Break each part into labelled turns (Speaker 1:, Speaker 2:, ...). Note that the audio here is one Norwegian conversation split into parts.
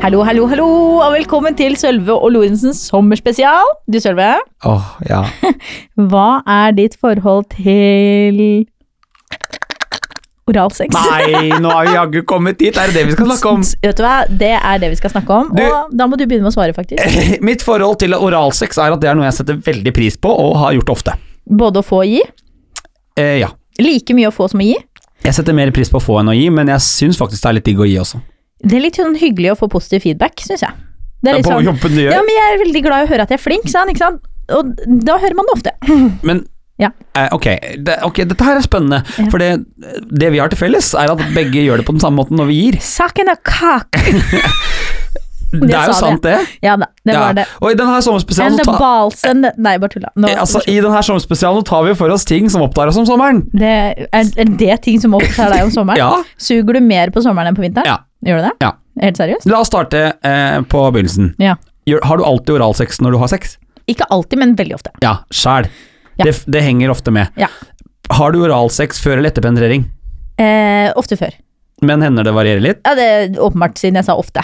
Speaker 1: Hallo, hallo, hallo, og velkommen til Sølve og Lorentzens sommerspesial. Du, Sølve,
Speaker 2: Åh, ja.
Speaker 1: hva er ditt forhold til oralsex?
Speaker 2: Nei, nå har vi jaggu kommet dit. Er det det vi skal snakke om?
Speaker 1: S- Vet du hva, det er det vi skal snakke om,
Speaker 2: Du-
Speaker 1: og da må du begynne med å svare, faktisk.
Speaker 2: Mitt forhold til oralsex er at det er noe jeg setter veldig pris på, og har gjort ofte.
Speaker 1: Både å få og gi.
Speaker 2: Eh, ja.
Speaker 1: Like mye å få som å gi.
Speaker 2: Jeg setter mer pris på å få enn å gi, men jeg syns faktisk det er litt digg å gi også.
Speaker 1: Det er litt sånn hyggelig å få positiv feedback, syns jeg. Det er litt
Speaker 2: på
Speaker 1: sånn,
Speaker 2: jobben du gjør.
Speaker 1: ja, men jeg er veldig glad i å høre at jeg er flink, sa han, ikke sant? Og da hører man det ofte.
Speaker 2: Men
Speaker 1: Ja.
Speaker 2: eh, ok, det, ok, dette her er spennende.
Speaker 1: Ja.
Speaker 2: For det, det vi har til felles, er at begge gjør det på den samme måten når vi gir.
Speaker 1: Saken er kake.
Speaker 2: Det, er
Speaker 1: sa
Speaker 2: jo sant, det.
Speaker 1: Ja da, det
Speaker 2: Ja.
Speaker 1: var det.
Speaker 2: Og i denne her sommerspesialen
Speaker 1: And
Speaker 2: så
Speaker 1: the
Speaker 2: Altså, ta,
Speaker 1: balls and the... Nei, bare tulla. Nå-
Speaker 2: eh, altså, i denne her sommerspesialen så tar vi for oss ting som opptar oss om sommeren.
Speaker 1: Det, er, er det ting som opptar deg om sommeren?
Speaker 2: Ja.
Speaker 1: Suger du mer på sommeren enn på vinteren?
Speaker 2: Ja.
Speaker 1: Gjør du det?
Speaker 2: Ja.
Speaker 1: Helt seriøst?
Speaker 2: La oss starte eh, på begynnelsen.
Speaker 1: Ja.
Speaker 2: Gjør- Har du alltid oralsex når du har sex?
Speaker 1: Ikke alltid, men veldig ofte.
Speaker 2: Ja, sjæl.
Speaker 1: Ja.
Speaker 2: Det, det henger ofte med.
Speaker 1: Ja.
Speaker 2: Har du oralsex før eller etter penetrering?
Speaker 1: Eh, ofte før.
Speaker 2: Men hender det varierer litt.
Speaker 1: Ja, det er åpenbart, siden jeg sa ofte.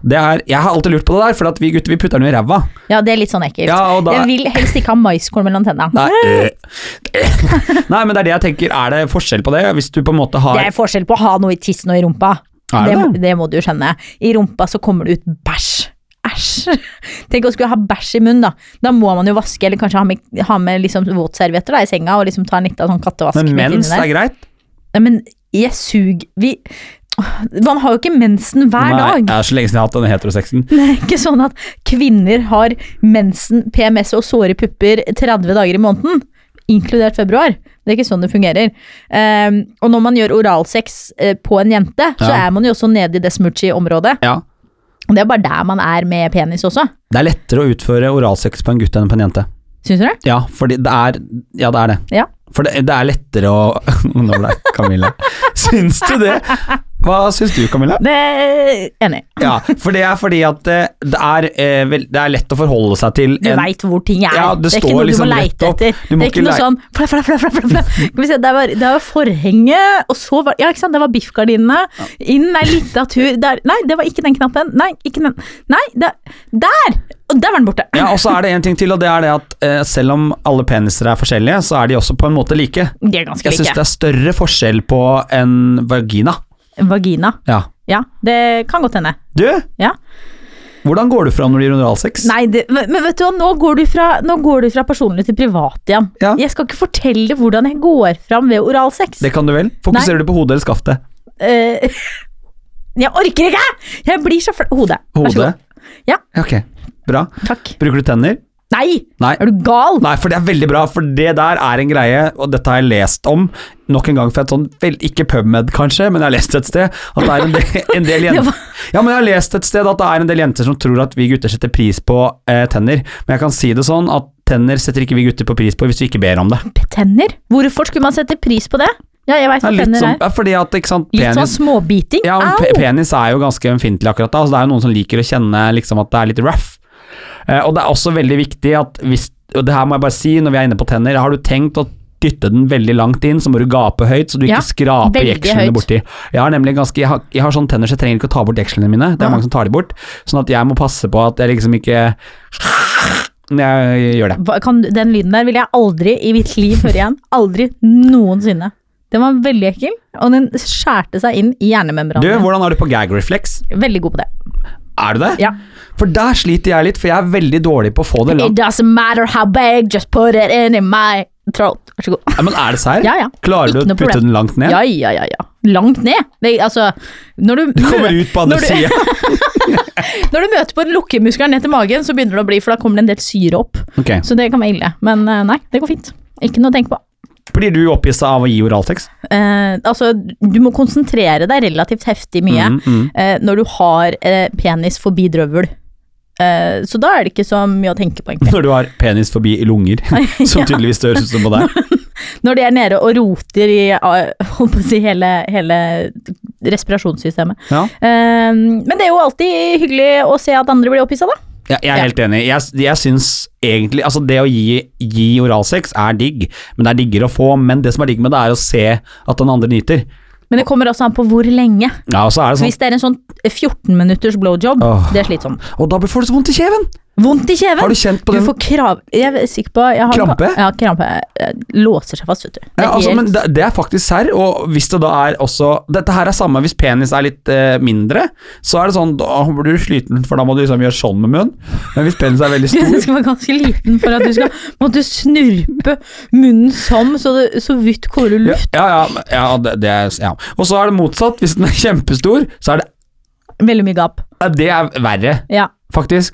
Speaker 2: Det er, jeg har alltid lurt på det der, for at vi gutter vi putter den jo i ræva.
Speaker 1: Ja, det er litt sånn ekkelt.
Speaker 2: Ja, og da-
Speaker 1: Jeg vil helst ikke ha maiskorn mellom tenna.
Speaker 2: Nei, øh. Nei, men det er det jeg tenker. Er det forskjell på det? Hvis du på en måte har
Speaker 1: Det er forskjell på å ha noe i tissen og i rumpa.
Speaker 2: Er det
Speaker 1: det, må du skjønne. I rumpa så kommer det ut bæsj. Æsj. Tenk å skulle ha bæsj i munnen, da. Da må man jo vaske, eller kanskje ha med, ha med liksom våtservietter da, i senga, og liksom ta en liten sånn kattevask.
Speaker 2: Men
Speaker 1: midt inni
Speaker 2: mens det
Speaker 1: der.
Speaker 2: er greit?
Speaker 1: Nei, Men jeg sug... Vi Åh, Man har jo ikke mensen hver
Speaker 2: Nei,
Speaker 1: dag.
Speaker 2: det er så lenge siden jeg har hatt den heterosexen.
Speaker 1: Det er ikke sånn at kvinner har mensen, PMS og såre pupper 30 dager i måneden, inkludert februar. Det er ikke sånn det fungerer. Ehm, og når man gjør oralsex eh, på en jente, så
Speaker 2: Ja.
Speaker 1: er man jo også nede i det smoochy området.
Speaker 2: Ja.
Speaker 1: Og det er bare der man er med penis også.
Speaker 2: Det er lettere å utføre oralsex på en gutt enn på en jente.
Speaker 1: Syns du det?
Speaker 2: Ja, fordi det er Ja, det er det.
Speaker 1: Ja.
Speaker 2: For det, det er lettere å Nå ble det Camilla. Syns du det? Hva syns du, Camilla?
Speaker 1: Det er Enig.
Speaker 2: Ja, for det er fordi at eh, det er, eh, vel, det er lett å forholde seg til
Speaker 1: Du veit hvor ting er.
Speaker 2: Ja, det
Speaker 1: det, er
Speaker 2: står
Speaker 1: ikke noe
Speaker 2: liksom
Speaker 1: du må
Speaker 2: rett
Speaker 1: leite
Speaker 2: opp.
Speaker 1: etter.
Speaker 2: Du må
Speaker 1: det er
Speaker 2: ikke
Speaker 1: ikke noe
Speaker 2: lei-
Speaker 1: sånn fla, fla, fla, fla, fla, fla. Skal vi se, det var, det var forhenget, og så var Ja, ikke sant, det var biffgardinene. Inn er litteratur der. Nei, det var ikke den knappen. Nei, ikke den. Nei, det, der! Og der var den borte.
Speaker 2: Ja, og så er det en ting til, og det er det at eh, selv om alle peniser er forskjellige, så er de også på en måte like.
Speaker 1: De er ganske
Speaker 2: Jeg syns
Speaker 1: like.
Speaker 2: det er større forskjell på en vagina.
Speaker 1: Vagina.
Speaker 2: Ja.
Speaker 1: Ja, det kan godt hende.
Speaker 2: Du,
Speaker 1: Ja.
Speaker 2: hvordan går du fram når du gir oralsex?
Speaker 1: Nei, det, men men vet du hva, nå går du fra, nå går du fra personlig til privat igjen.
Speaker 2: Ja.
Speaker 1: Jeg skal ikke fortelle hvordan jeg går fram ved oralsex.
Speaker 2: Det kan du vel? Fokuserer du på hodet eller skaftet?
Speaker 1: Eh, jeg orker ikke! Jeg blir så flau. Hodet. Vær så
Speaker 2: Hodet?
Speaker 1: god. Ja.
Speaker 2: Ok, bra.
Speaker 1: Takk.
Speaker 2: Bruker du tenner?
Speaker 1: Nei!
Speaker 2: Nei.
Speaker 1: Er du gal?
Speaker 2: Nei, for det er veldig bra, for det der er en greie, og dette har jeg lest om nok en gang fra et sånn vel, Ikke PubMed, kanskje, men jeg har lest et sted at det er en del, en del
Speaker 1: Det
Speaker 2: jenter
Speaker 1: var-
Speaker 2: Ja, men jeg har lest et sted at det er en del jenter som tror at vi gutter setter pris på eh, tenner, men jeg kan si det sånn at tenner setter ikke vi gutter på pris på hvis vi ikke ber om det.
Speaker 1: Tenner? Hvorfor skulle man sette pris på det? Ja, jeg veit
Speaker 2: Det
Speaker 1: hva
Speaker 2: er litt
Speaker 1: tenner
Speaker 2: som,
Speaker 1: er.
Speaker 2: ja, fordi at, ikke sant,
Speaker 1: Litt sånn
Speaker 2: penis
Speaker 1: småbiting.
Speaker 2: ja, men pe
Speaker 1: Au!
Speaker 2: penis er jo ganske ømfintlig akkurat da, så det er jo noen som liker å kjenne liksom, at det er litt rough. Eh, og det er også veldig viktig at hvis, og det her må jeg bare si når vi er inne på tenner, har du tenkt å dytte den veldig langt inn, så må du gape høyt, så du
Speaker 1: Ja,
Speaker 2: ikke skraper
Speaker 1: veldig høyt.
Speaker 2: jekslene borti. Jeg har nemlig ganske, jeg har, jeg har sånne tenner, så jeg trenger ikke å ta bort jekslene mine, det er
Speaker 1: Ja.
Speaker 2: mange som tar de bort, sånn at jeg må passe på at jeg liksom ikke, når jeg gjør det.
Speaker 1: Hva- Kan, den lyden der vil jeg aldri i mitt liv høre igjen. Aldri noensinne. Den var veldig ekkel, og den skjærte seg inn i
Speaker 2: Du,
Speaker 1: hjernemembranen.
Speaker 2: hvordan er du på gag reflex?
Speaker 1: min. Veldig god på det.
Speaker 2: Er du det?
Speaker 1: Ja.
Speaker 2: For der sliter jeg litt, for jeg er veldig dårlig på å få det
Speaker 1: It
Speaker 2: langt.
Speaker 1: doesn't matter how big, just put it in in my throat. Vær så god.
Speaker 2: Ja, men er det sær?
Speaker 1: Ja, ja.
Speaker 2: Klarer du
Speaker 1: Ikke
Speaker 2: å
Speaker 1: noe
Speaker 2: putte
Speaker 1: problem.
Speaker 2: den langt ned?
Speaker 1: Ja, ja, ja. ja. Langt ned. Det, altså, når du,
Speaker 2: Du kommer ut på andre
Speaker 1: når du-
Speaker 2: sida.
Speaker 1: Når du møter på lukkemuskelen ned til magen, så begynner det å bli, for da kommer det en del syre opp.
Speaker 2: Ok.
Speaker 1: Så det kan være ille. Men eh, nei, det går fint. Ikke noe å tenke på.
Speaker 2: Blir du opphissa av å gi oralsex?
Speaker 1: Eh, altså, du må konsentrere deg relativt heftig mye
Speaker 2: Mm, mm.
Speaker 1: eh, når du har eh, penis forbi drøvel. Eh, så da er det ikke så mye å tenke på, egentlig.
Speaker 2: Når du har penis forbi lunger, som tydeligvis høres ut som på deg.
Speaker 1: Når de er nede og roter i ah, holdt på å si, hele, hele respirasjonssystemet.
Speaker 2: Ja.
Speaker 1: Eh, men det er jo alltid hyggelig å se at andre blir opphissa, da.
Speaker 2: Jeg, jeg er
Speaker 1: Ja.
Speaker 2: helt enig. Jeg, jeg syns egentlig Altså, det å gi, gi oralsex er digg, men det er diggere å få. Men det som er digg med det, er å se at den andre nyter.
Speaker 1: Men det kommer også an på hvor lenge.
Speaker 2: Ja, og så er det
Speaker 1: Så
Speaker 2: sånn
Speaker 1: hvis det er en sånn 14 minutters blowjob,
Speaker 2: Åh.
Speaker 1: det er slitsomt.
Speaker 2: Og sånn, da får du så vondt i kjeven!
Speaker 1: Vondt i kjeven!
Speaker 2: Har du kjent på
Speaker 1: Du
Speaker 2: den?
Speaker 1: får krav... Jeg er sikker på jeg har,
Speaker 2: Krampe?
Speaker 1: Ja, krampe. eh, Låser seg fast, vet du. Det er
Speaker 2: Ja, altså,
Speaker 1: helt-
Speaker 2: men det, det er faktisk serr, og hvis det da er også Dette her er samme hvis penis er litt eh, mindre, så er det sånn Da blir du sliten, for da må du liksom gjøre sånn med munnen. Men hvis penis er veldig
Speaker 1: Du
Speaker 2: stor
Speaker 1: skal være ganske liten for at du skal måtte snurpe munnen sånn, så det så vidt korer
Speaker 2: Ja,
Speaker 1: luft.
Speaker 2: ja, ja, men- ja, det, det er, ja. Og så er det motsatt. Hvis den er kjempestor, så er det
Speaker 1: Veldig mye gap.
Speaker 2: Det er verre,
Speaker 1: Ja.
Speaker 2: faktisk.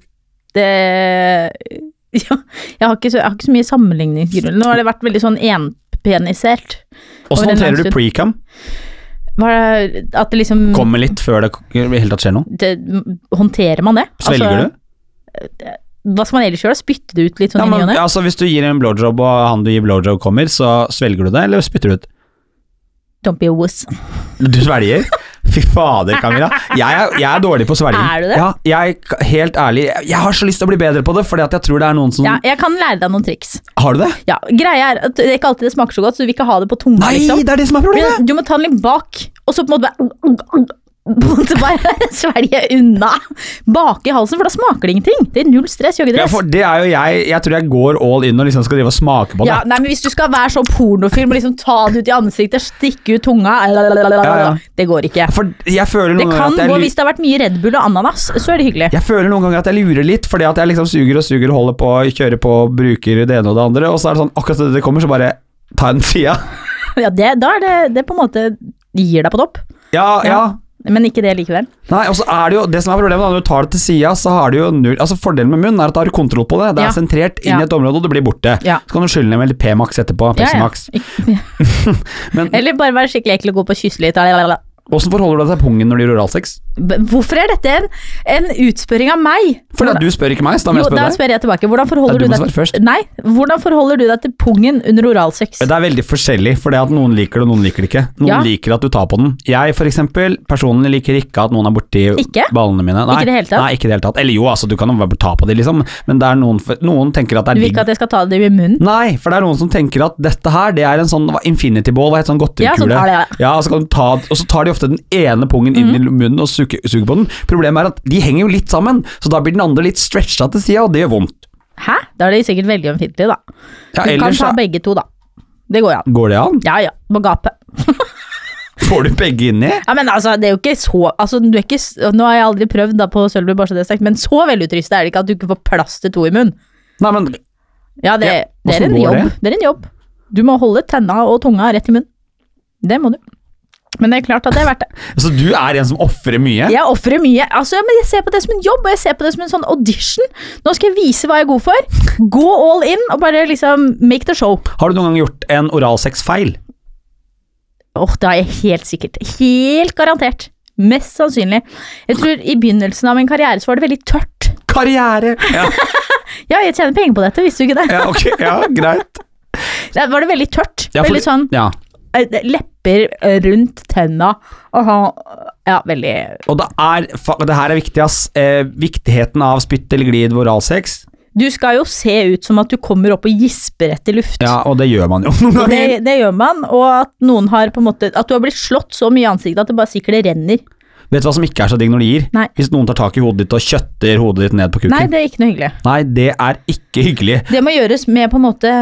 Speaker 1: Det ja, jeg, har ikke så, jeg har ikke så mye sammenligningsgrunnlag. Nå har det vært veldig sånn enpenisert.
Speaker 2: Og så
Speaker 1: Over en
Speaker 2: håndterer
Speaker 1: lang
Speaker 2: du
Speaker 1: stund.
Speaker 2: precam.
Speaker 1: Hva er det- At det liksom
Speaker 2: Kommer litt før det i det hele tatt skjer noe.
Speaker 1: det, Håndterer man det?
Speaker 2: Svelger
Speaker 1: Altså,
Speaker 2: du?
Speaker 1: Hva skal man ellers gjøre? Spytte det ut litt sånn
Speaker 2: Ja,
Speaker 1: ja,
Speaker 2: men,
Speaker 1: i ny og ne?
Speaker 2: altså, hvis du gir en blowjob, og han du gir blowjob kommer, så svelger du det, eller spytter du ut?
Speaker 1: Don't be a wuss.
Speaker 2: Du svelger? Fy fader, Camilla. Jeg er, jeg er dårlig på svelging.
Speaker 1: Er du det?
Speaker 2: Ja, jeg, helt ærlig, jeg- jeg har så lyst til å bli bedre på det, fordi at jeg tror det er noen som
Speaker 1: Ja, jeg kan lære deg noen triks.
Speaker 2: Har du det?
Speaker 1: Ja, greia er at det er ikke alltid det smaker så godt, så du vil ikke ha det på tunga.
Speaker 2: Nei,
Speaker 1: liksom.
Speaker 2: det er det som er problemet!
Speaker 1: Men du må ta den litt bak, og så på en måte bare på en måte bare svelge unna bak i halsen, for da smaker det ingenting. Det er null stress, gjør ikke det?
Speaker 2: Ja, for det er jo jeg Jeg tror jeg går all in og liksom skal drive og smake på det.
Speaker 1: Ja, nei, men Hvis du skal være så pornofilm og liksom ta det ut i ansiktet, stikke ut tunga
Speaker 2: Ja, ja.
Speaker 1: Det går ikke.
Speaker 2: For jeg føler
Speaker 1: Det
Speaker 2: noen
Speaker 1: kan
Speaker 2: ganger at jeg,
Speaker 1: gå
Speaker 2: lu-
Speaker 1: hvis det har vært mye Red Bull og ananas, så er det hyggelig.
Speaker 2: jeg føler noen ganger at jeg lurer litt, fordi at jeg liksom suger og suger og holder på, kjører på, bruker det ene og det andre, og så er det sånn akkurat da det kommer, så bare ta en sida.
Speaker 1: Ja, det, Da er det, det på en måte gir deg på topp,
Speaker 2: Ja, ja.
Speaker 1: men ikke det likevel.
Speaker 2: Nei, og så er det jo Det som er problemet, da, når du tar det til sida, så har du jo null Altså, fordelen med munnen er at da har du kontroll på det. Det er
Speaker 1: Ja.
Speaker 2: sentrert inn
Speaker 1: Ja.
Speaker 2: i et område, og det blir borte.
Speaker 1: Ja.
Speaker 2: Så kan du skylle ned med litt P-max etterpå.
Speaker 1: Ja, ja.
Speaker 2: Pepsi-max. Men-
Speaker 1: Eller bare være skikkelig ekkel og gå på og kysse litt. lalalala.
Speaker 2: Åssen forholder du deg til pungen når du gjør oralsex?
Speaker 1: B- Hvorfor er dette en, en utspørring av meg?
Speaker 2: For da, du spør ikke meg, så da må
Speaker 1: Jo,
Speaker 2: jeg spørre
Speaker 1: da
Speaker 2: deg.
Speaker 1: spør jeg tilbake. Hvordan
Speaker 2: Ja,
Speaker 1: forholder,
Speaker 2: du
Speaker 1: du
Speaker 2: må
Speaker 1: deg
Speaker 2: svare først.
Speaker 1: Nei, hvordan forholder du deg til pungen under oralsex?
Speaker 2: Det er veldig forskjellig, for det at noen liker det, og noen liker det ikke. Noen
Speaker 1: Ja.
Speaker 2: liker at du tar på den. Jeg for eksempel, personlig liker ikke at noen er borti
Speaker 1: Ikke?
Speaker 2: ballene mine. Nei,
Speaker 1: Ikke i det hele tatt?
Speaker 2: Nei, ikke i det hele tatt. Eller jo, altså, du kan jo bare ta på dem, liksom, men det er noen, noen tenker at
Speaker 1: Du
Speaker 2: det er
Speaker 1: vil
Speaker 2: digg
Speaker 1: ikke at jeg skal ta det i munnen?
Speaker 2: Nei, for det er noen som tenker at dette her, det er en sånn hva, infinity ball, hva heter sånn godterikule?
Speaker 1: Ja, sånn er det, ja. Mhm.
Speaker 2: og, så kan du ta, og så tar de ofte den ene pungen inn i munnen og suger, suger på den. Problemet er at de henger jo litt sammen, så da blir den andre litt stretcha til sida, og det gjør vondt.
Speaker 1: Hæ? Da er det sikkert veldig ømfintlig, da.
Speaker 2: Ja,
Speaker 1: Du kan
Speaker 2: ellers
Speaker 1: ta
Speaker 2: så-
Speaker 1: begge to, da. Det går jo an.
Speaker 2: Går det an?
Speaker 1: Ja ja, må gape.
Speaker 2: Får du begge inni?
Speaker 1: Ja, men altså, det er jo ikke så altså, du er ikke, s- Nå har jeg aldri prøvd da på Sølvi, bare så det er sagt, men så velutrystet er det ikke at du ikke får plass til to i munnen.
Speaker 2: Nei, men
Speaker 1: Ja, det, det,
Speaker 2: Ja,
Speaker 1: er
Speaker 2: hvordan
Speaker 1: en
Speaker 2: går
Speaker 1: jobb.
Speaker 2: det?
Speaker 1: Det? er en jobb. Du må holde tenna og tunga rett i munnen. Det må du. Men det er klart at det er verdt det.
Speaker 2: Så du er en som ofrer mye?
Speaker 1: Jeg ofrer mye. Altså, ja, men jeg ser på det som en jobb, og jeg ser på det som en sånn audition. Nå skal jeg vise hva jeg er god for. Gå all in, og bare liksom make the show.
Speaker 2: Har du noen gang gjort en oralsexfeil?
Speaker 1: Åh, det har jeg helt sikkert. Helt garantert. Mest sannsynlig. Jeg tror i begynnelsen av min karriere så var det veldig tørt.
Speaker 2: Karriere! Ja,
Speaker 1: Ja, jeg tjener penger på dette, visste du ikke det?
Speaker 2: ja ok, ja, greit.
Speaker 1: Da var det veldig tørt.
Speaker 2: Ja, for-
Speaker 1: veldig sånn
Speaker 2: Ja.
Speaker 1: eh, lepper rundt tenna. Og sånn, ja, veldig
Speaker 2: Og det er, fa- det her er viktig, ass. Eh, viktigheten av spytt eller glid ved oralsex.
Speaker 1: Du skal jo se ut som at du kommer opp og gisper etter luft.
Speaker 2: Ja, og det gjør man jo noen
Speaker 1: Og
Speaker 2: ganger.
Speaker 1: Det, det gjør man, og at noen har på en måte At du har blitt slått så mye i ansiktet at det bare sikkert renner.
Speaker 2: Vet du hva som ikke er så digg når de gir?
Speaker 1: Nei.
Speaker 2: Hvis noen tar tak i hodet ditt og kjøtter hodet ditt ned på kuken.
Speaker 1: Nei, det er ikke noe hyggelig.
Speaker 2: Nei, det er ikke hyggelig.
Speaker 1: Det må gjøres med på en måte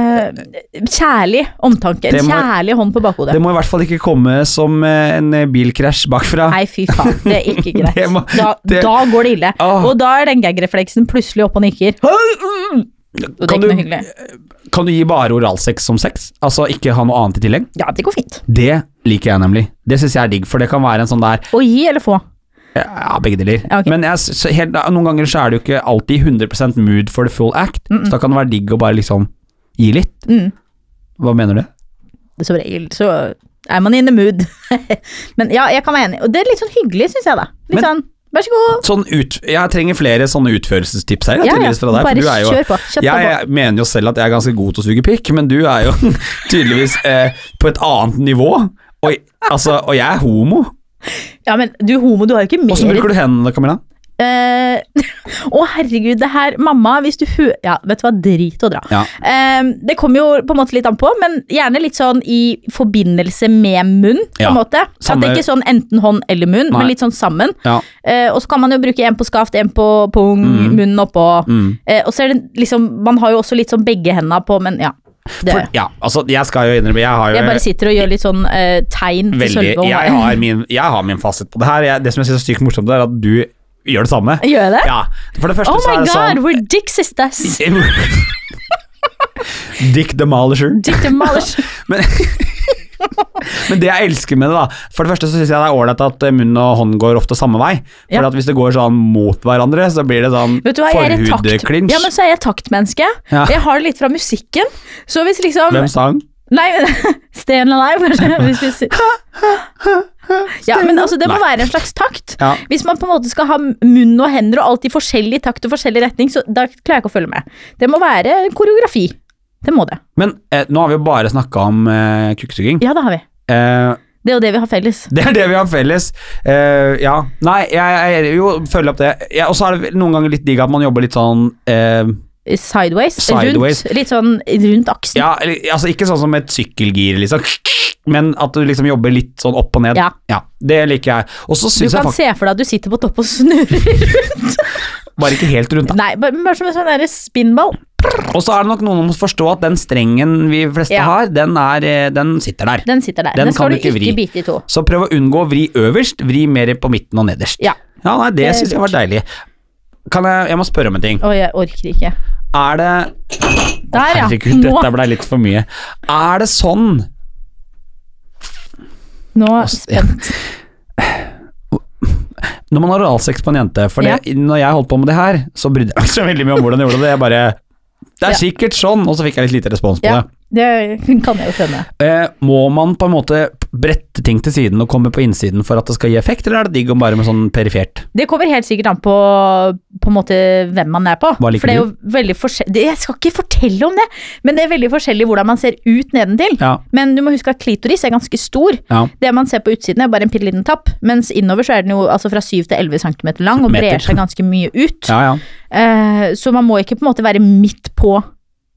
Speaker 1: kjærlig omtanke.
Speaker 2: Det
Speaker 1: En
Speaker 2: må-
Speaker 1: kjærlig hånd på bakhodet.
Speaker 2: Det må i hvert fall ikke komme som eh, en eh, bilkrasj bakfra.
Speaker 1: Nei, fy faen. Det er ikke greit.
Speaker 2: Det må-
Speaker 1: da,
Speaker 2: det-
Speaker 1: da går det ille.
Speaker 2: Åh.
Speaker 1: Og da er den gag-refleksen plutselig opp og nikker. Og det er
Speaker 2: Kan
Speaker 1: ikke noe
Speaker 2: du-
Speaker 1: hyggelig.
Speaker 2: Kan du gi bare oralsex som sex? Altså ikke ha noe annet i tillegg?
Speaker 1: Ja, det går fint.
Speaker 2: Det liker jeg nemlig. Det syns jeg er digg, for det kan være en sånn der
Speaker 1: Å gi eller få.
Speaker 2: Ja, begge deler.
Speaker 1: Ja, ok.
Speaker 2: Men jeg, s- så helt, noen ganger så er det jo ikke alltid 100 mood for the full act, så da kan det være digg å bare liksom gi litt.
Speaker 1: Mm.
Speaker 2: Hva mener du?
Speaker 1: Som regel så er man in the mood. Men ja, jeg kan være enig. Og det er litt sånn hyggelig, syns jeg, da. Litt
Speaker 2: Men-
Speaker 1: sånn, vær så god.
Speaker 2: Sånn ut, jeg trenger flere sånne utførelsestips her,
Speaker 1: Ja, ja.
Speaker 2: tydeligvis fra
Speaker 1: Bare
Speaker 2: deg. for du er jo,
Speaker 1: kjør på. Kjøtt deg
Speaker 2: jeg, jeg mener jo selv at jeg er ganske god til å suge pikk, men du er jo tydeligvis eh, på et annet nivå. Og, altså, og jeg er homo.
Speaker 1: Ja, men du homo, du har jo ikke mer
Speaker 2: Åssen bruker du hendene, Camilla?
Speaker 1: eh, Å, herregud, det her Mamma, hvis du hø... Ja, vet du hva, drit og dra.
Speaker 2: Ja.
Speaker 1: Eh, det kommer jo på en måte litt an på, men gjerne litt sånn i forbindelse med munn. på
Speaker 2: Ja.
Speaker 1: en måte. At
Speaker 2: Samme-
Speaker 1: det ikke er sånn enten hånd eller munn,
Speaker 2: Nei.
Speaker 1: men litt sånn sammen.
Speaker 2: Ja.
Speaker 1: Eh, og så kan man jo bruke en på skaft, en på pung, munnen oppå.
Speaker 2: Mm.
Speaker 1: Eh, og så er det liksom Man har jo også litt sånn begge henda på, men ja. Det,
Speaker 2: For, ja, altså, jeg skal jo innrømme Jeg har jo
Speaker 1: jeg bare sitter og gjør litt sånn eh, tegn til
Speaker 2: veldig
Speaker 1: Sølve. og
Speaker 2: jeg
Speaker 1: meg.
Speaker 2: har, min, jeg har min fasit på det her. Jeg, det som jeg synes er sykt morsomt, det er at du gjør det samme.
Speaker 1: Gjør jeg det?
Speaker 2: Ja, For det første
Speaker 1: Oh
Speaker 2: så
Speaker 1: my
Speaker 2: er
Speaker 1: god,
Speaker 2: det sånn
Speaker 1: we're dick sisters!
Speaker 2: Dick Demolisher.
Speaker 1: Dick demolish.
Speaker 2: Men, men det jeg elsker med det, da For det første så syns jeg det er ålreit at eh, munn og hånd går ofte samme vei. For
Speaker 1: Ja.
Speaker 2: at hvis det går sånn mot hverandre, så blir det sånn
Speaker 1: Vet du hva, jeg er et takt...
Speaker 2: forhudklinsj.
Speaker 1: Ja, men sånn- så er jeg et taktmenneske.
Speaker 2: Ja.
Speaker 1: Jeg har det litt fra musikken. Så hvis liksom
Speaker 2: Hvem sang?
Speaker 1: Nei, men Stay and alive, kanskje. Hvis vi sier Ja, men altså, det må
Speaker 2: Nei.
Speaker 1: være en slags takt.
Speaker 2: Ja.
Speaker 1: Hvis man på en måte skal ha munn og hender og alt i forskjellig takt og forskjellig retning, så da klarer jeg ikke å følge med. Det må være en koreografi. Det må det.
Speaker 2: Men eh, nå har vi jo bare snakka om eh, kukkesuging.
Speaker 1: Ja, det har vi.
Speaker 2: Eh,
Speaker 1: Det er jo det vi har felles.
Speaker 2: Det er det vi har felles. Eh, ja. Nei, jeg, jeg jo følger opp det. Jeg- Og så er det vel noen ganger litt digg at man jobber litt sånn eh,
Speaker 1: Sideways.
Speaker 2: Sideways.
Speaker 1: Rundt, litt sånn rundt aksen.
Speaker 2: Ja, eller, altså ikke sånn som et sykkelgir, liksom. Men at du liksom jobber litt sånn opp og ned.
Speaker 1: Ja.
Speaker 2: det liker jeg. Og så
Speaker 1: du
Speaker 2: syns jeg
Speaker 1: kan
Speaker 2: faktisk
Speaker 1: se for deg at du sitter på topp og snurrer.
Speaker 2: Bare ikke helt rundt, da.
Speaker 1: Nei, bare, bare som en sånn derre spinball.
Speaker 2: Og så er det nok noen som må forstå at den strengen vi fleste
Speaker 1: Ja.
Speaker 2: har, den, er, eh, den sitter der.
Speaker 1: Den sitter der.
Speaker 2: Den
Speaker 1: Den,
Speaker 2: kan
Speaker 1: skal du
Speaker 2: du ikke
Speaker 1: ikke,
Speaker 2: vri.
Speaker 1: bite i to.
Speaker 2: Så prøv å unngå å vri øverst, vri mer på midten og nederst.
Speaker 1: Ja.
Speaker 2: nei, det,
Speaker 1: Det er
Speaker 2: synes syns jeg var deilig. Kan jeg, jeg må spørre om en ting.
Speaker 1: Å, jeg orker ikke.
Speaker 2: Er det
Speaker 1: Der, ja.
Speaker 2: Herregud,
Speaker 1: Nå,
Speaker 2: dette ble litt for mye. Er det sånn
Speaker 1: nå er jeg
Speaker 2: Ass, ja.
Speaker 1: spent.
Speaker 2: når man har oralsex på en jente For det,
Speaker 1: Ja.
Speaker 2: når jeg holdt på med det her, så brydde jeg meg ikke så veldig mye om hvordan jeg gjorde det. Jeg bare Det er
Speaker 1: Ja.
Speaker 2: sikkert sånn, og så fikk jeg litt lite respons på
Speaker 1: Ja,
Speaker 2: det.
Speaker 1: det kan jeg jo skjønne.
Speaker 2: Eh, må man på en måte brette ting til siden og komme på innsiden for at det skal gi effekt, eller er det digg om bare med sånn perifert?
Speaker 1: Det kommer helt sikkert an på, på en måte, hvem man er på.
Speaker 2: Hva liker
Speaker 1: For det er jo veldig forskjell- det- Jeg skal ikke fortelle om det, men det er veldig forskjellig hvordan man ser ut nedentil.
Speaker 2: Ja.
Speaker 1: Men du må huske at klitoris er ganske stor.
Speaker 2: ja.
Speaker 1: Det man ser på utsiden er bare en bitte liten tapp, mens innover så er den jo altså fra 7 til 11 cm lang og brer
Speaker 2: Meter.
Speaker 1: seg ganske mye ut.
Speaker 2: Ja, ja.
Speaker 1: Eh, så man må ikke på en måte være midt på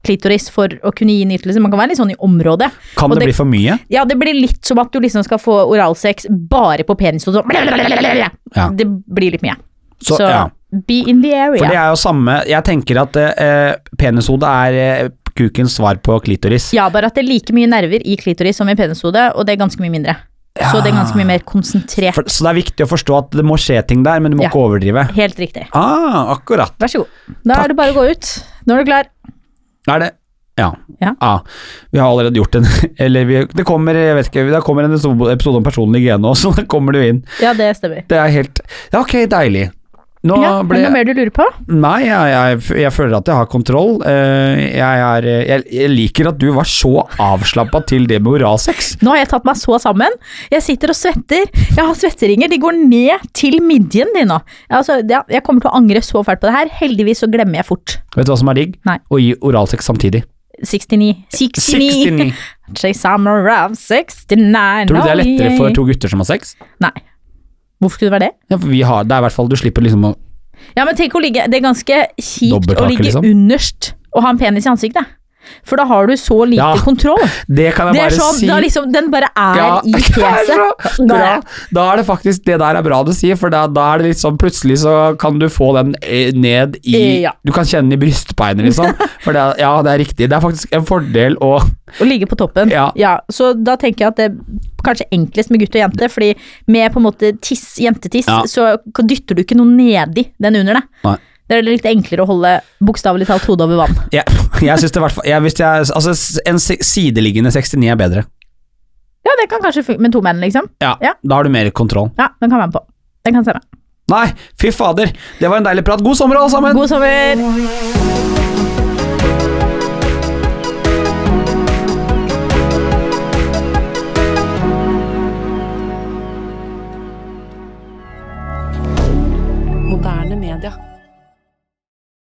Speaker 1: klitoris for å kunne gi nytelse. Man kan være litt sånn i området.
Speaker 2: Kan
Speaker 1: Og
Speaker 2: det,
Speaker 1: det-
Speaker 2: bli for mye?
Speaker 1: Ja, det blir litt som at du liksom skal få oralsex bare på penis og sånn.
Speaker 2: Ja.
Speaker 1: Det blir litt mye.
Speaker 2: Så,
Speaker 1: Så,
Speaker 2: ja.
Speaker 1: be in the area.
Speaker 2: For det er jo samme Jeg tenker at eh, penishodet er eh, kukens svar på klitoris.
Speaker 1: Ja, bare at det er like mye nerver i klitoris som i penishode, og det er ganske mye mindre. Så det er ganske mye mer konsentrert.
Speaker 2: For, så det er viktig å forstå at det må skje ting der, men du må
Speaker 1: Ja.
Speaker 2: ikke overdrive.
Speaker 1: Helt riktig.
Speaker 2: Ah, akkurat.
Speaker 1: Vær så god. Da
Speaker 2: Takk.
Speaker 1: er det bare å gå ut. Nå er du klar.
Speaker 2: Er det Ja.
Speaker 1: Ja.
Speaker 2: Ah. vi har allerede gjort en Eller vi, det kommer jeg vet ikke, det kommer en episode om personlig hygiene òg, så da kommer du inn.
Speaker 1: Ja, det stemmer.
Speaker 2: Det er helt Ja, ok, deilig. Nå
Speaker 1: Ja, er det noe
Speaker 2: ble
Speaker 1: mer du lurer på?
Speaker 2: Nei, jeg, jeg, jeg føler at jeg har kontroll. Eh, Jeg, er, jeg, jeg liker at du var så avslappa til det med oralsex.
Speaker 1: Nå har jeg tatt meg så sammen. Jeg sitter og svetter. Jeg har svetteringer. De går ned til midjen din nå. Ja, Altså, ja, jeg kommer til å angre så fælt på det her. Heldigvis så glemmer jeg fort.
Speaker 2: Vet du hva som er digg?
Speaker 1: Nei.
Speaker 2: Å gi oralsex samtidig.
Speaker 1: 69. 69.
Speaker 2: 69.
Speaker 1: Say summer of 69.
Speaker 2: Tror du det er
Speaker 1: Oh,
Speaker 2: lettere for
Speaker 1: yeah.
Speaker 2: to gutter som har sex?
Speaker 1: Nei. Hvorfor skulle det være det?
Speaker 2: Ja, for vi har, det er i hvert fall Du slipper liksom å
Speaker 1: Ja, men tenk å ligge Det er ganske kjipt å
Speaker 2: Dobbelthake,
Speaker 1: ligge
Speaker 2: liksom.
Speaker 1: underst og ha en penis i ansiktet. For da har du så lite
Speaker 2: Ja,
Speaker 1: kontroll.
Speaker 2: Det kan jeg
Speaker 1: Det er
Speaker 2: bare
Speaker 1: sånn,
Speaker 2: si.
Speaker 1: da liksom, Den bare er i
Speaker 2: det er
Speaker 1: fjeset.
Speaker 2: så bra. Da er det faktisk det der er bra du sier, for da, da er det litt sånn plutselig så kan du få den eh, ned i
Speaker 1: Eh, ja.
Speaker 2: Du kan kjenne den i brystbeinet, liksom. For det, er- ja, det er riktig. Det er faktisk en fordel å
Speaker 1: Å ligge på toppen.
Speaker 2: Ja.
Speaker 1: Så da tenker jeg at det er kanskje enklest med gutt og jente, fordi med på en måte tiss, jentetiss,
Speaker 2: Ja.
Speaker 1: så dytter du ikke noe nedi den under deg.
Speaker 2: Nei.
Speaker 1: Det er litt enklere å holde bokstavelig talt hodet over vann.
Speaker 2: Jeg, jeg syns det i hvert fall jeg, hvis jeg, Altså, s- en si- sideliggende 69 er bedre.
Speaker 1: Ja, det kan kanskje funke med to menn, liksom.
Speaker 2: Ja,
Speaker 1: Ja.
Speaker 2: Da har du mer kontroll.
Speaker 1: Ja, den kan være med på. Den kan stemme.
Speaker 2: Nei, fy fader, det var en deilig prat. God sommer, alle sammen!
Speaker 1: God sommer!
Speaker 3: Thank